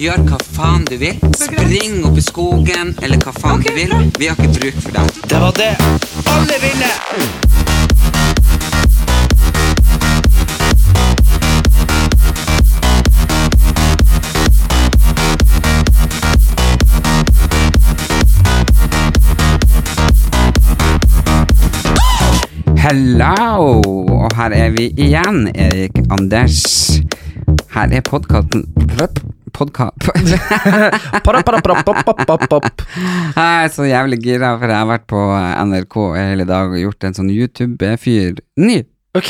Gjør hva faen du vil. Spring opp i skogen eller hva faen Ok, du vil. bra. Vi har ikke bruk for dem. Det var det alle ville! Hello! Og her er vi igjen, Erik Anders. Her er podkasten Podkast Paraparapapapapapap. Jeg er så jævlig gira, for jeg har vært på NRK hele dag og gjort en sånn YouTube-fyr ny. Ok,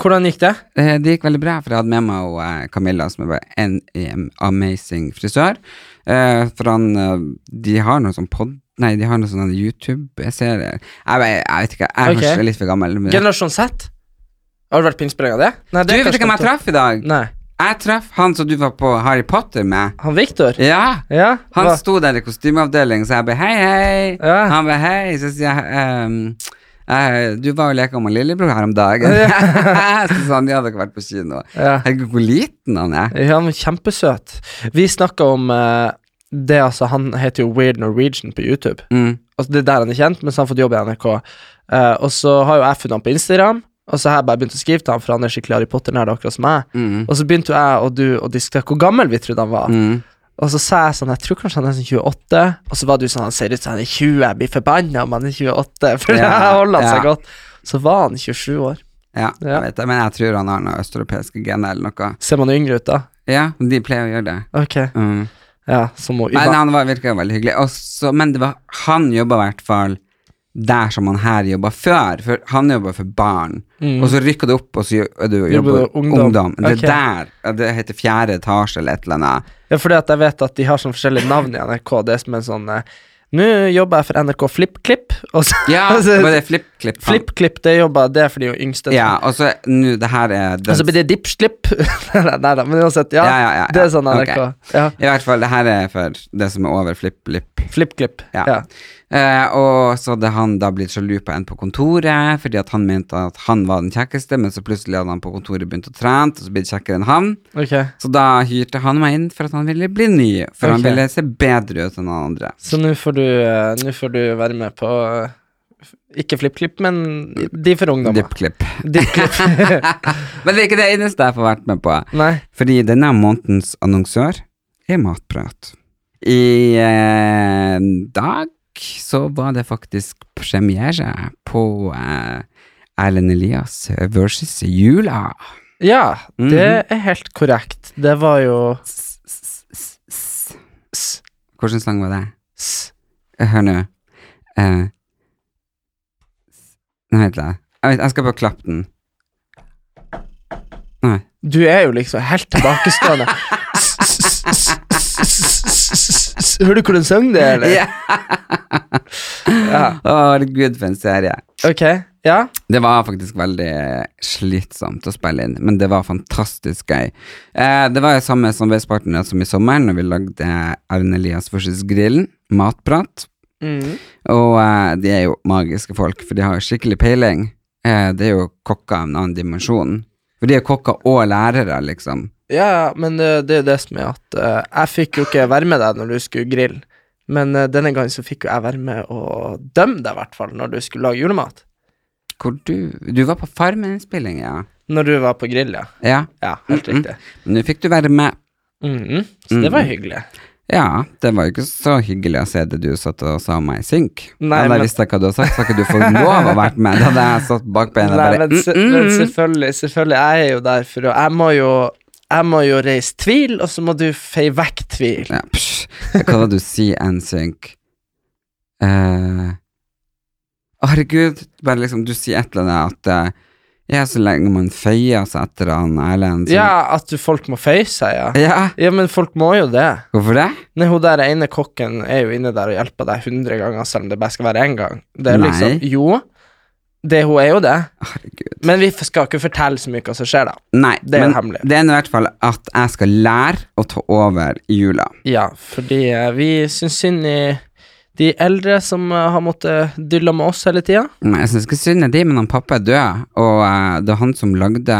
hvordan gikk det? Eh, Det gikk veldig bra, for jeg hadde med meg og eh, Camilla, som er bare en em, amazing frisør. Eh, For han eh, De har noen sånn pod... Nei, de har noen sånne YouTube-serier. Jeg, vet- jeg vet ikke, jeg er Ok. kanskje litt for gammel. Men... Generasjon Z? Har du vært på innspilling av det? Nei, Du, det er vet du kanskje hvem jeg ikke- traff i dag? Nei, Jeg traff han som du var på Harry Potter med. han Victor? Ja! Ja, Han hva? sto der i kostymeavdelingen, så jeg bare hei, hei. Ja. Han bare hei, så sier jeg ehm, eh, Du var jo leka med lillebror her om dagen. så sa han ja, dere har vært på kino. Ja. Herregud, hvor liten han er. Ja, men kjempesøt. Vi snakka om eh, det, altså. Han heter jo Weird Norwegian på YouTube. Mm. Altså, det er der han er kjent, mens han har fått jobb i NRK. Eh, og så har jo jeg funnet han på Instagram, og så har jeg bare begynt å skrive til han, for han er skikkelig Harry Potter-nerd, akkurat som meg. Mm. Og så begynte jo jeg og du å diskutere hvor gammel vi trodde han var. Mm. Og så sa jeg sånn, jeg tror kanskje han er sånn 28. Og så var du sånn, han ser ut som han er 20, jeg blir forbanna om han er 28. For Ja, jeg holder han seg ja. godt. Så var han 27 år. Ja, Ja. jeg vet det, men jeg tror han har noen østeuropeiske gener eller noe. Ser man yngre ut da? Ja, de pleier å gjøre det. Ok. Mm. Ja, som hun Men Uva. han var, virka veldig hyggelig. Og så- men det var, han jobba i hvert fall der som han her jobba før, for han jobba for barn. Mm. Og så rykka det opp, og så jo- og du Jobber jobber du ungdom? ungdom. ungdom. Det Ok. der, ja, det heter fjerde etasje eller et eller annet. Ja, fordi at jeg vet at de har sånn forskjellige navn i NRK. Det er som en sånn eh, Nå jobber jeg for NRK FlippKlipp. Og så Ja, og så- var det flipp-klipp? han- FlippKlipp, det jobber det er for de yngste. Ja, og så nå, det her er den, Og så blir det DippSlipp. Nei da, men uansett. Ja, Ja, ja, ja, ja. det er sånn NRK. Ok. Ja, I hvert fall, det her er for det som er over flipp-lipp. FlippKlipp. Ja. Ja. Eh, og så hadde han da blitt sjalu på en på kontoret, fordi at han mente at han var den kjekkeste, men så plutselig hadde han på kontoret begynt å trene, og så ble det kjekkere enn han. Ok. Så da hyrte han meg inn for at han ville bli ny, for han Ok. ville se bedre ut enn han andre. Så nå får, du, eh, nå får du være med på eh, f- Ikke FlippKlipp, men de for ungdommer. Dipp-klipp. DippKlipp. Men det er ikke det eneste jeg får vært med på, Nei. fordi denne månedens annonsør er Matprat. I eh, dag så var det faktisk premiere på eh, Erlend Elias versus Jula. Ja, Mhm. det er helt korrekt. Det var jo S- s- s- s- s, Hvordan sang var det? s. Hør nå. Eh, s- Nei, vent litt. Jeg vet- Jeg skal bare klappe den. Nei. Du er jo liksom helt tilbakestående. Hører du hvordan sang det, er, eller? Ja. Ja. Å, herregud, for en serie. Ok, ja. Det var faktisk veldig slitsomt å spille inn, men det var fantastisk gøy. Eh, det var jo samme samarbeidspartner som i sommer, når vi lagde Arne Elias versus Grillen, Matprat. Mm. Og eh, de er jo magiske folk, for de har jo skikkelig peiling. Eh, det er jo kokker av en annen dimensjon. For de er kokker og lærere, liksom. Ja, men eh, det er jo det som er at eh, Jeg fikk jo ikke være med deg når du skulle grille, men eh, denne gangen så fikk jo jeg være med og dømme deg, i hvert fall, når du skulle lage julemat. Hvor du Du var på Farmen-innspilling, ja. Når du var på grill, ja. Ja, Ja, helt Mm, mm. riktig. nå fikk du være med. Mhm. Så det var hyggelig. Ja, det var jo ikke så hyggelig å se det du satt og sa om meg i synk. Nei, hadde men- jeg visst hva du hadde sagt, så hadde ikke du fått lov å være med. Da hadde jeg satt bak beina og Nei, bare men, se, mm, mm, men mm. selvfølgelig, selvfølgelig, jeg er jo der for å Jeg må jo, jeg må jo reise tvil, og så må du feie vekk tvil. ja, psj. Hva var det du sier en synk? Eh, å, herregud, bare liksom, du sier et eller annet at eh, Ja, så lenge man feier seg etter han Erlend så- Ja, at du, folk må feie seg, ja. ja. Ja, men folk må jo det. Hvorfor det? Nei, hun der ene kokken er jo inne der og hjelper deg 100 ganger, selv om det bare skal være én gang. Det er Nei. liksom Jo, det, hun er jo det. Herregud. Men vi f- skal ikke fortelle så mye hva som skjer, da. Nei, Det er jo men hemmelig. det er nå i hvert fall at jeg skal lære å ta over i jula. Ja, fordi eh, vi syns synd i de eldre som eh, har måttet dylle med oss hele tida. Nei, jeg syns ikke synd er de, men han pappa er død, og eh, det er han som lagde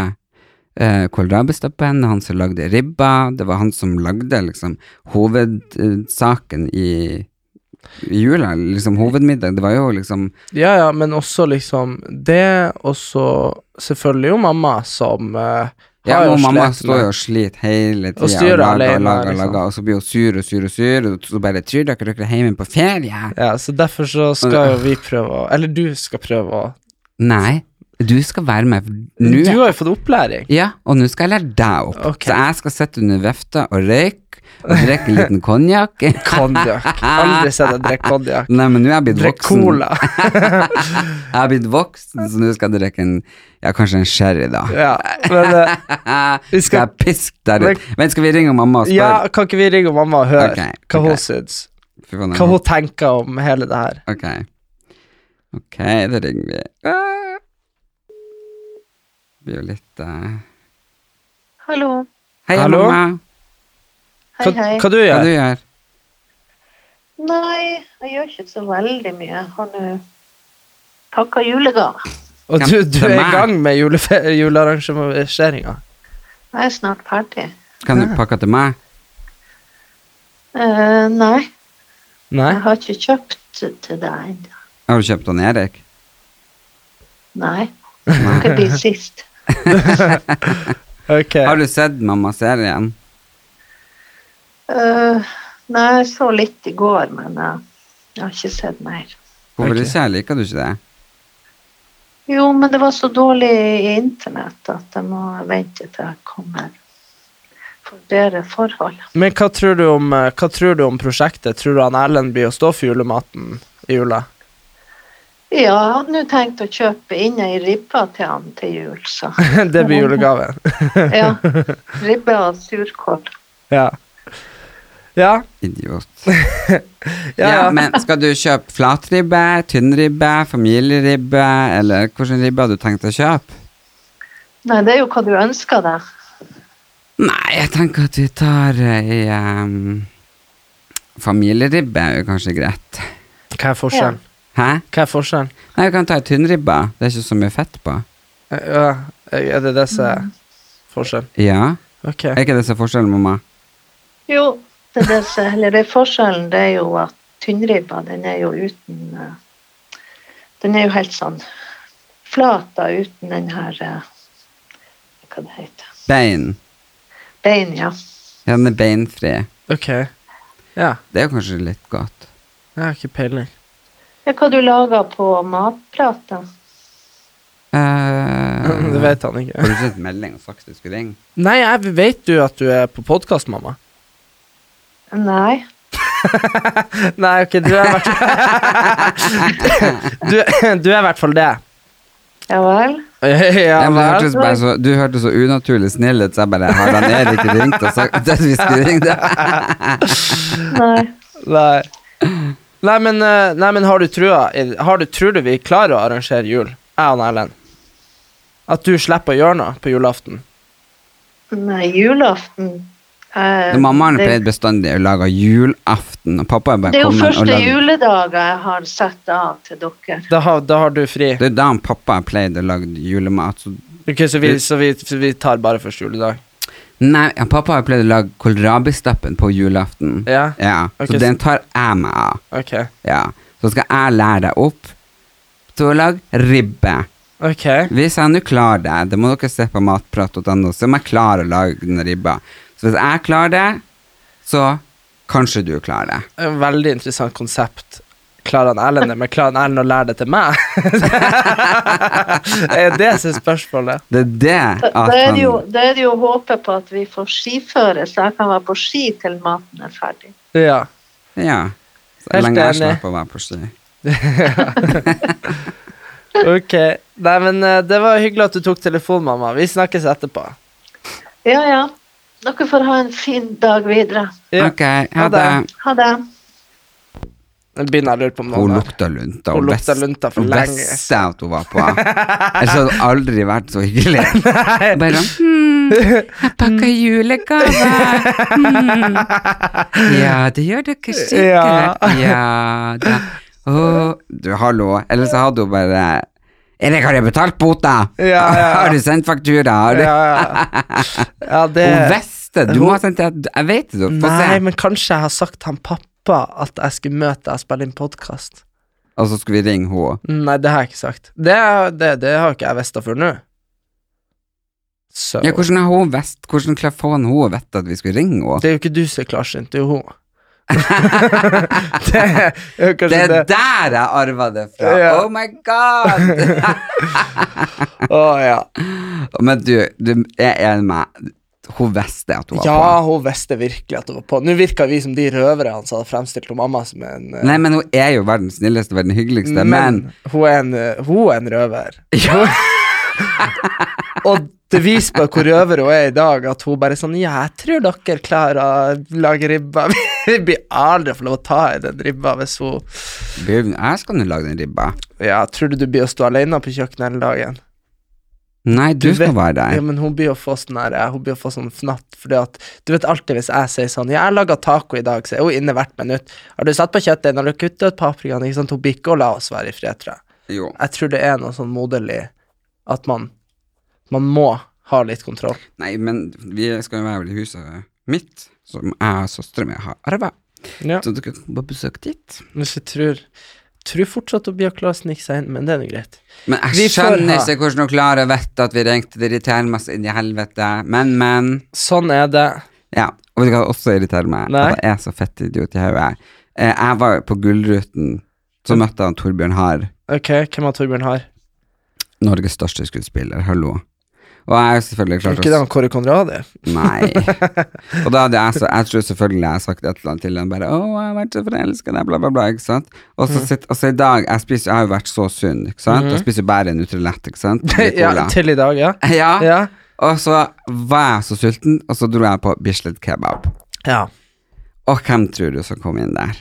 eh, kålrabistappen, han som lagde ribba. Det var han som lagde liksom hovedsaken i i jula, liksom hovedmiddag. Det var jo liksom Ja, ja, men også liksom det, og så selvfølgelig jo mamma som eh, har Ja, jo og mamma slet står jo og sliter hele tida Og styrer alene, og lager, liksom. lager, og så blir hun sur og sur og sur, og så bare 'Tror dere dere er hjemme på ferie?' Ja, så derfor så skal jo vi prøve å Eller du skal prøve å Nei, du skal være med. for Nå Du har jo fått opplæring. Ja, og nå skal jeg lære deg opp. Ok. Så jeg skal sitte under vefta og røyke og drikke en liten konjakk. Konjakk. Aldri sett deg drikke konjakk. Nei, men nå er jeg blitt Drikk voksen. cola. Jeg er blitt voksen, så nå skal jeg drikke en Ja, kanskje en sherry, da. Ja, men eh, vi skal, skal- jeg piske der ut? Men skal vi ringe mamma og ja, spørre? kan ikke vi ringe mamma og høre Ok, hva ok. hun syns? Fy faen, jeg Hva hun tenker om hele det her? Ok. Ok, da ringer vi. Ah. Det blir jo litt eh, Hallo. Hei, Hallo? mamma. Hei, Hva, hei. hva du Hva gjør du gjør Nei, jeg gjør ikke så veldig mye. Jeg har nå pakka julegaver. Og du? Du Hvem er er? i gang med julefe- julearrangeringa? Jeg er snart ferdig. Kan du pakke til meg? Eh, nei, Nei? jeg har ikke kjøpt til deg ennå. Har du kjøpt han Erik? Nei. Det blir sist. Ok. Har du sett mamma-serien? Eh, nei, jeg så litt i går, men jeg, jeg har ikke sett mer. Hvorfor Ok. ikke? Liker du ikke det? Jo, men det var så dårlig i internett at jeg må vente til jeg kommer for bedre forhold. Men hva tror, du om, eh, hva tror du om prosjektet? Tror du han Erlend blir å stå for julematen i jula? Ja, jeg hadde nå tenkt å kjøpe inn ei ribbe til han til jul, så. Det blir julegaven. Ja. Ribbe og surkål. Ja. Ja, Idiot. ja, Ja, ja. men skal du kjøpe flatribbe, tynnribbe, familieribbe, eller hvilken ribbe har du tenkt å kjøpe? Nei, det er jo hva du ønsker deg. Nei, jeg tenker at vi tar ei Familieribbe er jo kanskje greit. Hva er forskjellen? Hæ? Hva er forskjellen? Nei, vi kan ta ei tynnribbe. Det er ikke så mye fett på. Eh, Ja, er det det som er forskjellen? Ja. Ok. Er ikke det som er forskjellen, mamma? Jo, det er, det, som- eller det er forskjellen det er jo at tynnribba, den er jo uten eh, Den er jo helt sånn flat da, uten den her eh, Hva det heter Bein. Bein, ja. Ja, den er beinfri. Ok. Ja, Det er jo kanskje litt godt. jeg har ikke peiling. Det er hva du lager på matprat, da. Eh, Det vet han ikke. Har du ikke sett melding og sagt du skulle ringe? Nei, jeg vet du at du er på podkast, mamma? Nei. Nei, ok, du er i hvert fall du, du er i hvert fall det. Ja vel? Ja, Ja, men det vel. hørtes bare så, du hørtes så unaturlig snill ut, så jeg bare Har han Erik ringt og sagt at vi skulle ringe deg? Nei. Nei. sånn- Nei, men, eh, nei, men har du trua i- har du, Tror du vi klarer å arrangere jul, jeg og Erlend? At du slipper å gjøre noe på julaften? Nei, julaften eh, Mammaen det- pleide bestandig å lage julaften, og pappa er Det bare er jo kommet og første lagd juledager jeg har satt av til dere. Da har, da har du fri. Det er da han pappa pleide å lage julemat. Så, Ok, Så vi, så vi, så vi tar bare første juledag? nei, ja, pappa har pleid å lage kålrabistappen på julaften. Ja? Ja, Ok, Så så- den tar jeg meg av. Ok. Ja. Så skal jeg lære deg opp til å lage ribbe. Ok. Hvis jeg nå klarer det, det må dere se på matprat.no, så må jeg klare å lage den ribba. Så hvis jeg klarer det, så kanskje du klarer det. En veldig interessant konsept. Klarer han Erlend det, men klarer han Erlend å lære det til meg? er det som er spørsmålet? Det er det Da, at da er han det jo, da er det jo å håpe på at vi får skiføre, så jeg kan være på ski til maten er ferdig. Ja. Ja. Så Helt lenge jeg enig. slipper å være på ski. Ok. Nei, men eh, det var hyggelig at du tok telefonen, mamma. Vi snakkes etterpå. Ja, ja. Dere får ha en fin dag videre. Ja. Ok, ha Ha det. det. Ha det. Nå begynner jeg å lure på om Hun noen er- lukta lunta. Hun lukta ves- lunta for hun lenge visste at hun var på. Ellers hadde hun aldri vært så hyggelig. Bare sånn «Hm, Jeg pakka julegave. Hm. Ja, det gjør dere sikkert. Ja da. Å, du, hallo. Ellers hadde hun bare Erik, har jeg betalt bota? Ja, ja, ja. Har du sendt faktura? Har du... Ja, ja. ja det Hun visste Du må ha sendt det. Jeg vet det, du. Få Nei, se. men kanskje jeg har sagt til han pappa at jeg skulle møte deg og spille inn podkast. Og så skulle vi ringe henne. Nei, det har jeg ikke sagt. Det, det, det har ikke jeg visst før nå. Så Ja, hvordan har hun visst Hvordan klarer faen hun å vite at vi skulle ringe henne? Det er jo ikke du som er klarsynt, det er jo hun. det er jo Det kanskje er det. der jeg arva det fra! Ja. Oh my god! Å ja. Men du, du jeg er enig med meg. Hun visste at hun var ja, hun visste virkelig at det var på. Nå virka vi som de røverne som hadde fremstilt hun mamma som en på. eh, Nei, men hun er jo verdens snilleste, verdens hyggeligste, men, hun, er en, eh, hun er en røver. Og det viser på hvor røver hun er i dag, at hun bare sånn Ja, jeg tror dere klarer å lage ribba. Vi blir aldri få lov å ta i den ribba hvis hun Bjørn, jeg skal nå lage den ribba. Ja, tror du du blir å stå alene på kjøkkenet hele dagen? Nei, du, Du skal vet- være Ja, der. men hun blir å få sånn her, Hun blir å få sånn fnatt Fordi at Du vet alltid hvis jeg sier sånn Ja, jeg laget taco i dag Så er hun inne hvert minutt Har du satt på kjøttet Når du kuttet ut paprikaen Ikke sant Hun blir ikke å la oss være i fred tror jeg Jo. Jeg tror det er noe sånn moderlig At man Man må ha litt kontroll Nei, men vi skal jo være i huset mitt, som jeg og søstera mi har arva. Ja Så du kan bare besøke dit. Hvis jeg tror Tror fortsatt hun blir å klare å snikke seg inn Men det er noe greit Men Vi jeg får skjønner ha- ikke hvordan hun klarer å vite at vi ringte. Det irriterer meg så inn i helvete. Men, men. Sånn er det Ja, og det kan også irritere meg Nei. at jeg er så fett idiot i hodet. jeg. Eh, Jeg var jo på Gullruten, så møtte jeg han Torbjørn Haar, Ok, hvem av Torbjørn har? Norges største skuespiller, hallo. Og jeg er jo selvfølgelig Er klart ikke det han Kåre Conradi? Nei. Og da hadde jeg så Jeg tror selvfølgelig jeg har sagt et eller annet til ham, bare 'Å, jeg har vært så forelska i deg', bla, bla, bla, ikke sant. Og Mm. så sitt, altså i dag Jeg spiser Jeg har jo vært så sunn, ikke sant. Jeg spiser jo bare Nutrilett, ikke sant. Litt ja, cola. til i dag, ja ja. Ja Og så var jeg så sulten, og så dro jeg på Bislett Kebab. Ja Og hvem tror du som kom inn der?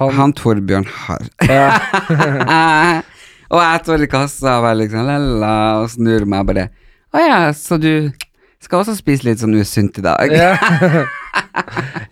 Han, Han Torbjørn Harr. Ja. og jeg står i kassa og bare liksom lala, og snur meg bare Å ja, så du skal også spise litt sånn usunt i dag? Ja.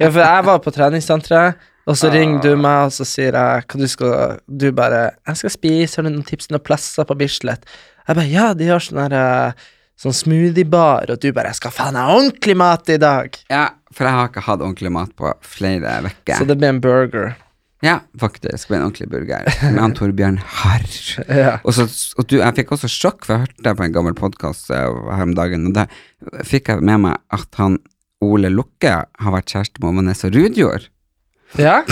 ja, for jeg var på treningssenteret, og så ringer du meg, og så sier jeg hva du skal Du bare 'Jeg skal spise, har du noen tips til noen plasser på Bislett?' Jeg bare 'Ja, de har sånn her eh, Sånn smoothiebar', og du bare 'Jeg skal faen ha ordentlig mat i dag'. Ja, for jeg har ikke hatt ordentlig mat på flere Så uker. det blir en burger. Ja, faktisk. Med en ordentlig burger. Med han Torbjørn Harr. Ja. Og, så- og du, jeg fikk også sjokk, for jeg hørte det på en gammel podkast her om dagen, og da fikk jeg med meg at han Ole Lukke har vært kjæreste med Vanessa Rudjord. ja.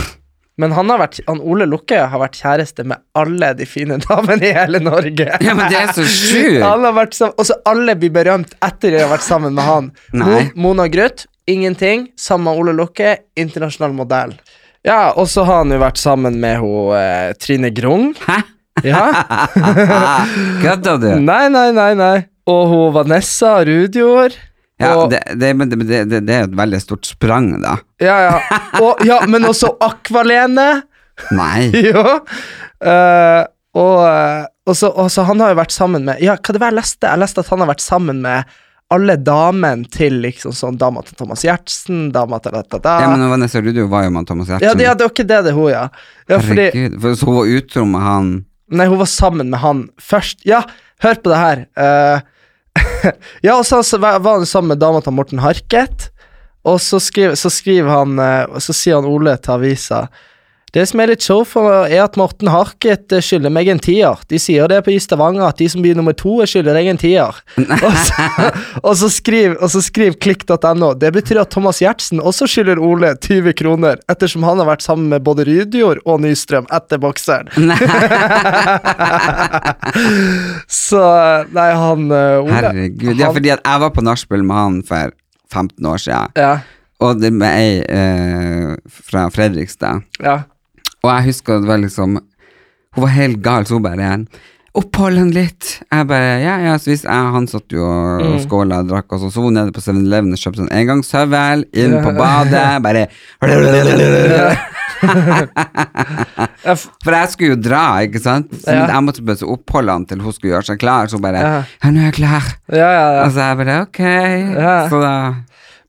Men han, har vært, han Ole Lukke har vært kjæreste med alle de fine damene i hele Norge. Ja, men det er så sjukt! Alle har vært sammen, også alle blir berømt etter de har vært sammen med han. Nei. Mo- Mona Grøth, ingenting. Sammen med Ole Lukke, internasjonal modell. Ja, og så har han jo vært sammen med ho, eh, Trine Grung. Hæ? Ja. Ah, Kødder du? Nei, nei, nei, nei. Og ho, Vanessa Rudjord. Ja, og, det, det, men det, men det, det, det er jo et veldig stort sprang, da. ja, ja. Og, ja, men også Akvalene. Nei. ja. Eh, og, eh, og, så, og så han har jo vært sammen med Ja, hva det var jeg leste? Jeg leste at han har vært sammen med alle damene til liksom sånn dama til Thomas Gjertsen, dama til da, da, da. Ja, men Vanessa Rudjo var jo med Thomas Gjertsen. Ja, det, ja, det var ikke det det er hun, ja. ja fordi, Herregud, for så hun var utro med han nei, hun var sammen med han først. Ja, hør på det her. Eh, ja, og så så var var han sammen med dama til Morten Harket, og så skriver, så skriver han eh, og Så sier han Ole til avisa det som er litt show for er at Morten Harket eh, skylder meg en tier. De sier det på i Stavanger at de som blir nummer to, eh, skylder deg en tier. Og så, og så skriver og så skriv klikk.no. Det betyr at Thomas Gjertsen også skylder Ole 20 kroner, ettersom han har vært sammen med både Rydjord og Nystrøm etter bokseren. Så Nei, han eh, Ole Herregud. Ja, fordi at jeg var på nachspiel med han for 15 år siden, Ja, og det med ei eh, fra Fredrikstad. ja. Og jeg husker det var liksom Hun var helt gal, så hun bare Opphold henne litt! Jeg bare Ja, ja, så hvis jeg Han satt jo og Mm. og skåla og drakk, og så så hun nede på 7-Eleven og kjøpte sånn engangshøvel, inn på badet, bare Jeg f- For jeg skulle jo dra, ikke sant? Så Ja. jeg måtte bare så oppholde han til hun skulle gjøre seg klar, så hun bare Ja. Ja, nå er jeg klar. ja, ja, ja. Og så jeg bare ok. Ja. Så da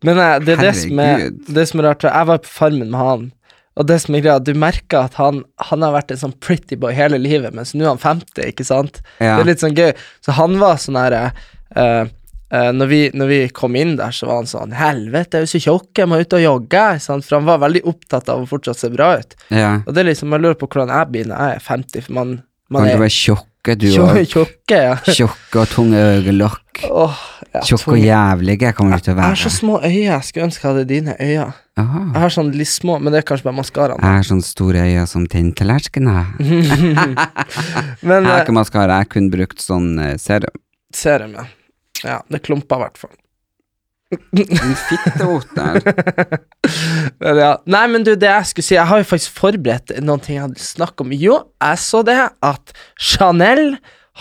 Men eh, det er det som er, Herregud. det som er rart. Jeg var på Farmen med han, Og det som er greia, du merker at han, han har vært en sånn pretty boy hele livet, mens nå er han 50, ikke sant? Ja. Det er litt sånn gøy. Så han var sånn her eh, eh, når, vi, når vi kom inn der, så var han sånn Helvete, jeg er jo så tjukk, jeg må ut og jogge. ikke Sant? For han var veldig opptatt av å fortsatt se bra ut. Ja. Og det er liksom, jeg lurer på hvordan jeg blir når jeg er 50, for man, man Kan du er være tjokk, du tjo- òg? tjukke. Ja. Tjokk og tunge øyelokk. Åh, ja, Tjokk og tunge. jævlig jeg kommer du til å Jeg har så være. små øyne, jeg skulle ønske jeg hadde dine øyne. Aha. Jeg har sånn litt små, men det er kanskje bare maskaraen. Jeg har sånne sånn store øyne som tinntallerkener. Jeg Men har eh, ikke maskara, jeg har kun brukt sånn eh, serum. serum, ja. Ja, det klumper i hvert fall. En fitteot der. Men ja. Nei, men du, det jeg skulle si Jeg har jo faktisk forberedt noen ting jeg hadde snakket om. Jo, jeg så det at Chanel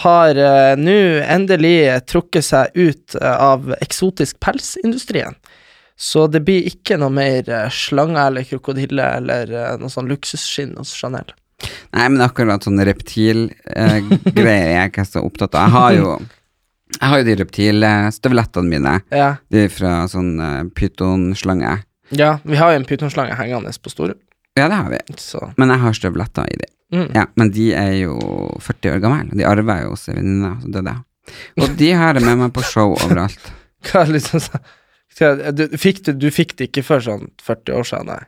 har eh, nå endelig eh, trukket seg ut eh, av eksotisk pelsindustrien. Så det blir ikke noe mer eh, slanger eller krokodille eller eh, noe sånn luksusskinn hos Chanel. Nei, men akkurat sånne reptilgreier er jeg ikke så opptatt av. Jeg har jo, jeg har jo de reptilstøvlettene mine. Ja, De er fra sånn eh, pytonslange. ja vi har jo en pytonslange hengende på Storud, Ja, det har vi. så Men jeg har støvletter i de. mm. Ja, men de er jo 40 år gamle. De arver jo hos ei venninne som døde. Og de har jeg med meg på show overalt. Hva er liksom så, Skal- du, fikk du, du fikk det ikke før sånn 40 år siden, nei?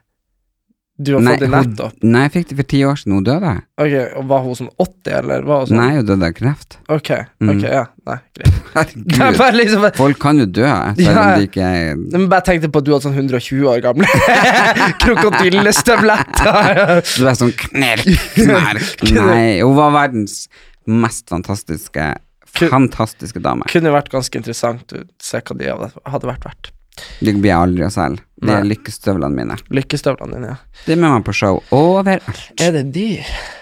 Du har Nei, fått det hun- nettopp? Nei, jeg fikk det for ti år siden. Hun døde. Ok, og Var hun sånn 80, eller? Var hun sånn? Nei, hun døde av kreft. Ok, Mm. ok, ja, nei, greit. Det er Herregud. bare liksom, Folk kan jo dø, selv om Ja. de ikke er jeg bare tenkte på at du hadde sånn 120 år gamle krokodillestøvletter. Så det er sånn knerk, knerk. Nei, hun var verdens mest fantastiske, Ku- fantastiske dame. Kunne vært ganske interessant å se hva de hadde hadde vært verdt. Det blir jeg aldri å selge. Det Nei. er lykkestøvlene mine. Lykkestøvlene dine, ja. De er med meg på show overalt. Er det de?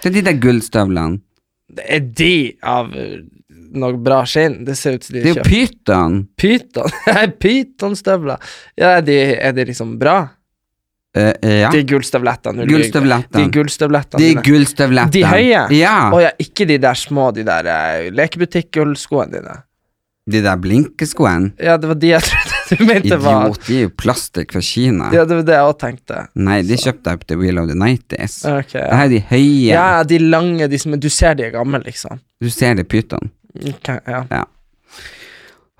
Det er de der gullstøvlene. Det er de av uh, noe bra skinn? Det ser ut som de Det er jo kjøper pyton. pyton. Pytonstøvler. Ja, er de, er de liksom bra? Eh, ja. De gullstøvlettene. Ulrik. De Gullstøvlettene. gullstøvlettene. De dine. gullstøvlettene. De høye? Å Ja. ja, ikke de der små, de der eh, lekebutikk-gullskoene dine. De der blinkeskoene. Ja, det var de jeg trodde du mente var Idiot, de er jo plastikk fra Kina. Ja, det var det jeg òg tenkte. Nei, de kjøpte jeg på The Wheel of the Nighties. Ok, Det ja. her er de høye. ja, de lange, de som Du ser de er gamle, liksom. Du ser det pyton. Ok, ja.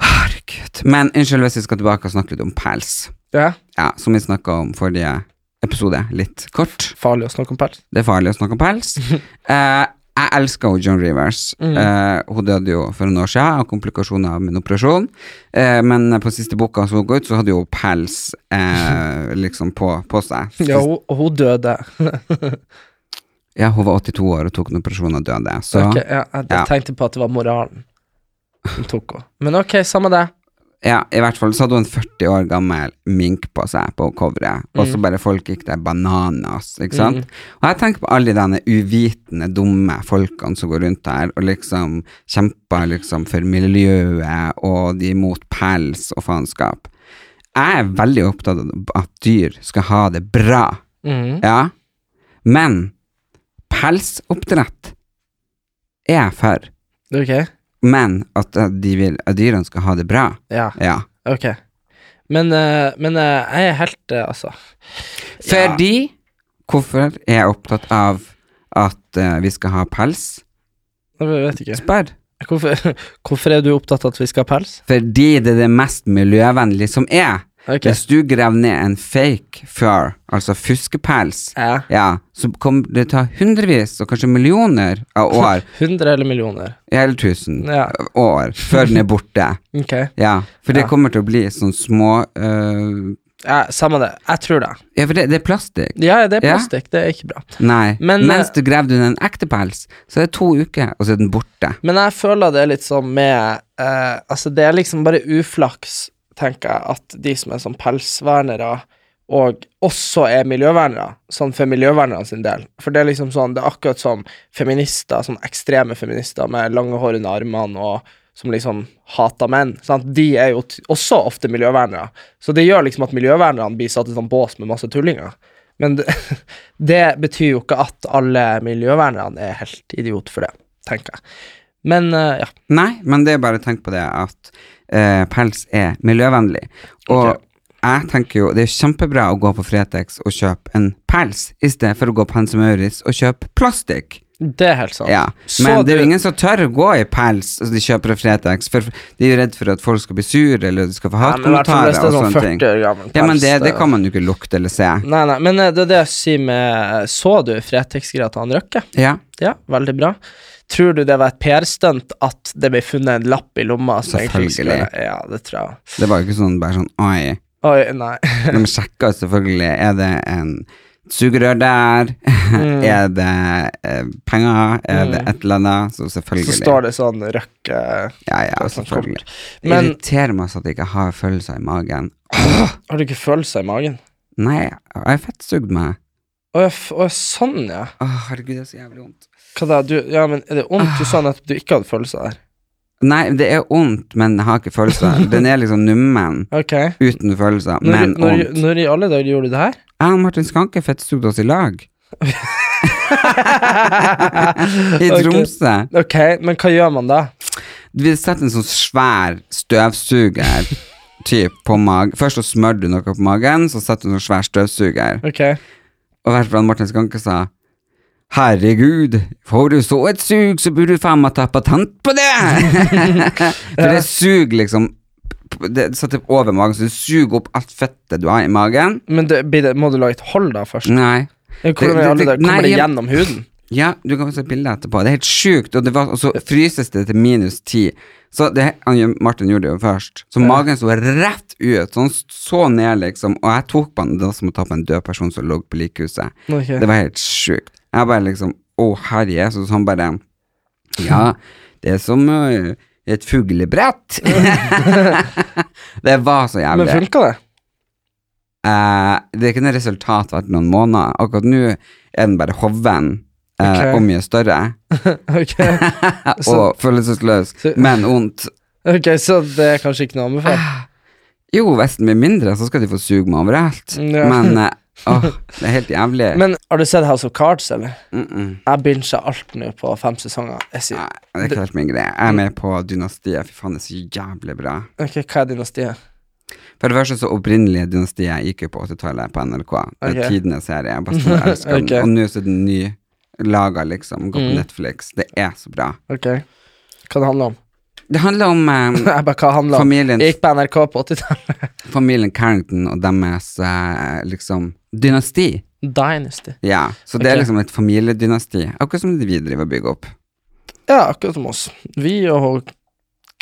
Herregud. Men unnskyld hvis vi skal tilbake og snakke litt om pels. ja. Ja, som vi snakka om forrige episode, litt kort. Farlig å snakke om pels. Det er farlig å snakke om pels. Eh, jeg elsker jo John Rivers. Mm. Eh, hun døde jo for noen år siden av komplikasjoner av en operasjon. Eh, men på siste boka som hun ga ut, så hadde hun pels eh, liksom på, på seg. Ja, hun, og hun døde. Ja, hun var 82 år og tok en operasjon og døde. Så Ok, ja, jeg Ja. tenkte på at det var moralen som tok henne. Men ok, samme det. ja, i hvert fall så hadde hun en 40 år gammel mink på seg på coveret, og så Mm. bare folk gikk der bananas, ikke sant? Og jeg tenker på alle de denne uvitende, dumme folkene som går rundt her og liksom kjemper liksom for miljøet, og de er mot pels og faenskap. Jeg er veldig opptatt av at dyr skal ha det bra, Mm. ja, men pelsoppdrett er jeg for. Ok, Men at eh, de vil at dyrene skal ha det bra. ja, Ja. ok. Men, eh, men eh, jeg er helt, eh, altså. Ja. Fordi Hvorfor er jeg opptatt av at eh, vi skal ha pels? Jeg vet ikke. Spør. Hvorfor, hvorfor er du opptatt av at vi skal ha pels? Fordi det er det mest miljøvennlige som er. Ok. Hvis du graver ned en fake fur, altså fuskepels, Ja. ja, så kommer det til å ta hundrevis og kanskje millioner av år, 100 eller millioner? eller tusen Ja. år, før den er borte. Ok. Ja, for det Ja. kommer til å bli sånn små øh, Ja, samme det. Jeg tror det. Ja, for det, det er plastikk. Ja, det er Ja. plastikk. Det er ikke bra. Nei. Men, eh, Mens du graver under en ekte pels, så er det to uker, og så er den borte. Men jeg føler det er litt sånn med eh, Altså, det er liksom bare uflaks, tenker jeg, at de som er sånn pelsvernere, og også er miljøvernere, sånn for miljøvernerne sin del. For det er liksom sånn, det er akkurat som feminister, sånn ekstreme feminister med lange hår under armene og som liksom hater menn. Sant? De er jo t også ofte miljøvernere. Så det gjør liksom at miljøvernerne blir satt i sånn bås med masse tullinger. Men det, det betyr jo ikke at alle miljøvernerne er helt idiot for det, tenker jeg. Men eh, ja. Nei, men det er bare å tenke på det at eh, pels er miljøvennlig. Og Ok. jeg tenker jo det er kjempebra å gå på Fretex og kjøpe en pels, i stedet for å gå på Hanse Mauritz og kjøpe plastikk. Det er helt sant. Ja. Så Men det er du- jo ingen som tør å gå i pels så de kjøper av Fretex, for de er jo redd for at folk skal bli sure, eller de skal få Ja, men i hvert hatkommentarer fall hvis det er og sånn sånne ting. 40 år eh. gammel Ja, men pels, det, det kan man jo ikke lukte eller se. Nei, nei, men eh, det er det jeg sier med eh, Så du Fretex-greia til han Røkke? Ja, Ja, veldig bra. Tror du det var et PR-stunt at det ble funnet en lapp i lomma? som egentlig ikke skulle Selvfølgelig. være- Ja, det tror jeg. det var jo ikke sånn bare sånn oi. Oi, nei. De sjekka jo selvfølgelig Er det en sugerør der? Mm. er det eh, penger? Er det et eller annet? Så Så selvfølgelig. står det sånn Røkke Ja, ja, Det er sånn selvfølgelig. Det Men- irriterer meg sånn at jeg ikke har følelser i magen. Har du ikke følelser i magen? Nei, jeg har fettsugd meg. Å, ja, f- å, sånn, ja. Å, herregud, det er så jævlig vondt. Hva da? Du, ja, men er det vondt? Du sa nettopp du ikke hadde følelser der. Nei, det er vondt, men jeg har ikke følelser. Den er liksom nummen. Ok. Uten følelser, Når, men når, vondt. når i alle dager gjorde du det her? Jeg og Martin Skanke fettsugde oss i lag. I Ok. Tromsø. Ok, men hva gjør man da? Vi setter en sånn svær støvsuger typ, på magen. Først så smører du noe på magen, så setter du en sånn svær støvsuger. Ok. Og hvert fall Martin Skanke sa Herregud, får du så et sug, så burde du faen meg ta patent på det! For det suger liksom Det setter over magen, så det suger opp alt fettet du har i magen. Men det, blir det, må du lage et hold da først? Nei. Ja, Hvordan Det- i alle det- dager nei, kommer det ja. gjennom huden? Ja, du kan få se bilder etterpå. Det er helt sjukt. Og, det var, og så fryses det til minus ti. Så det, han, Martin gjorde det jo først. Så magen så rett ut. Så han så ned, liksom. Og jeg tok på han det var som å ta på en død person som lå på likhuset. Ok. Det var helt sjukt. Jeg bare liksom Å, herre Jesus. Han bare Ja, det er som ø, et fuglebrett. det var så jævlig. Men funka det? Eh, det er ikke noe resultat hvert noen måneder. Akkurat nå er den bare hoven eh, og Ok. mye større. Ok, Så- og følelsesløs, så- men ondt. Ok, så det er kanskje ikke noe anbefalt? Ah. Jo, hvis den blir mindre, så skal de få suge meg overalt. Ja. Men eh, åh, det er helt jævlig. Men har du sett House of Cards, eller? mm -mm. Jeg binger alt nå på fem sesonger. Jeg sier, Nei, det er ikke helt min greie. Jeg er med på Dynastiet. Fy faen, det er så jævlig bra. ok, hva er dynastiet? For det første så opprinnelige Dynastiet gikk jo på 80-tallet på NRK. Det er Ok. tidenes serie. Jeg bare står og elsker Ok. den. Og nå så er den ny laga, liksom. Går på Mm. Netflix. Det er så bra. Ok, hva det handler om? Det handler om eh, Jeg bare, hva handler om? familien, Jeg gikk på NRK på 80-tallet. familien Carrington og deres eh, liksom dynasti. Dynasty. Ja, så det er Ok. liksom et familiedynasti, akkurat som det vi driver og bygger opp. Ja, akkurat som oss. Vi og hva,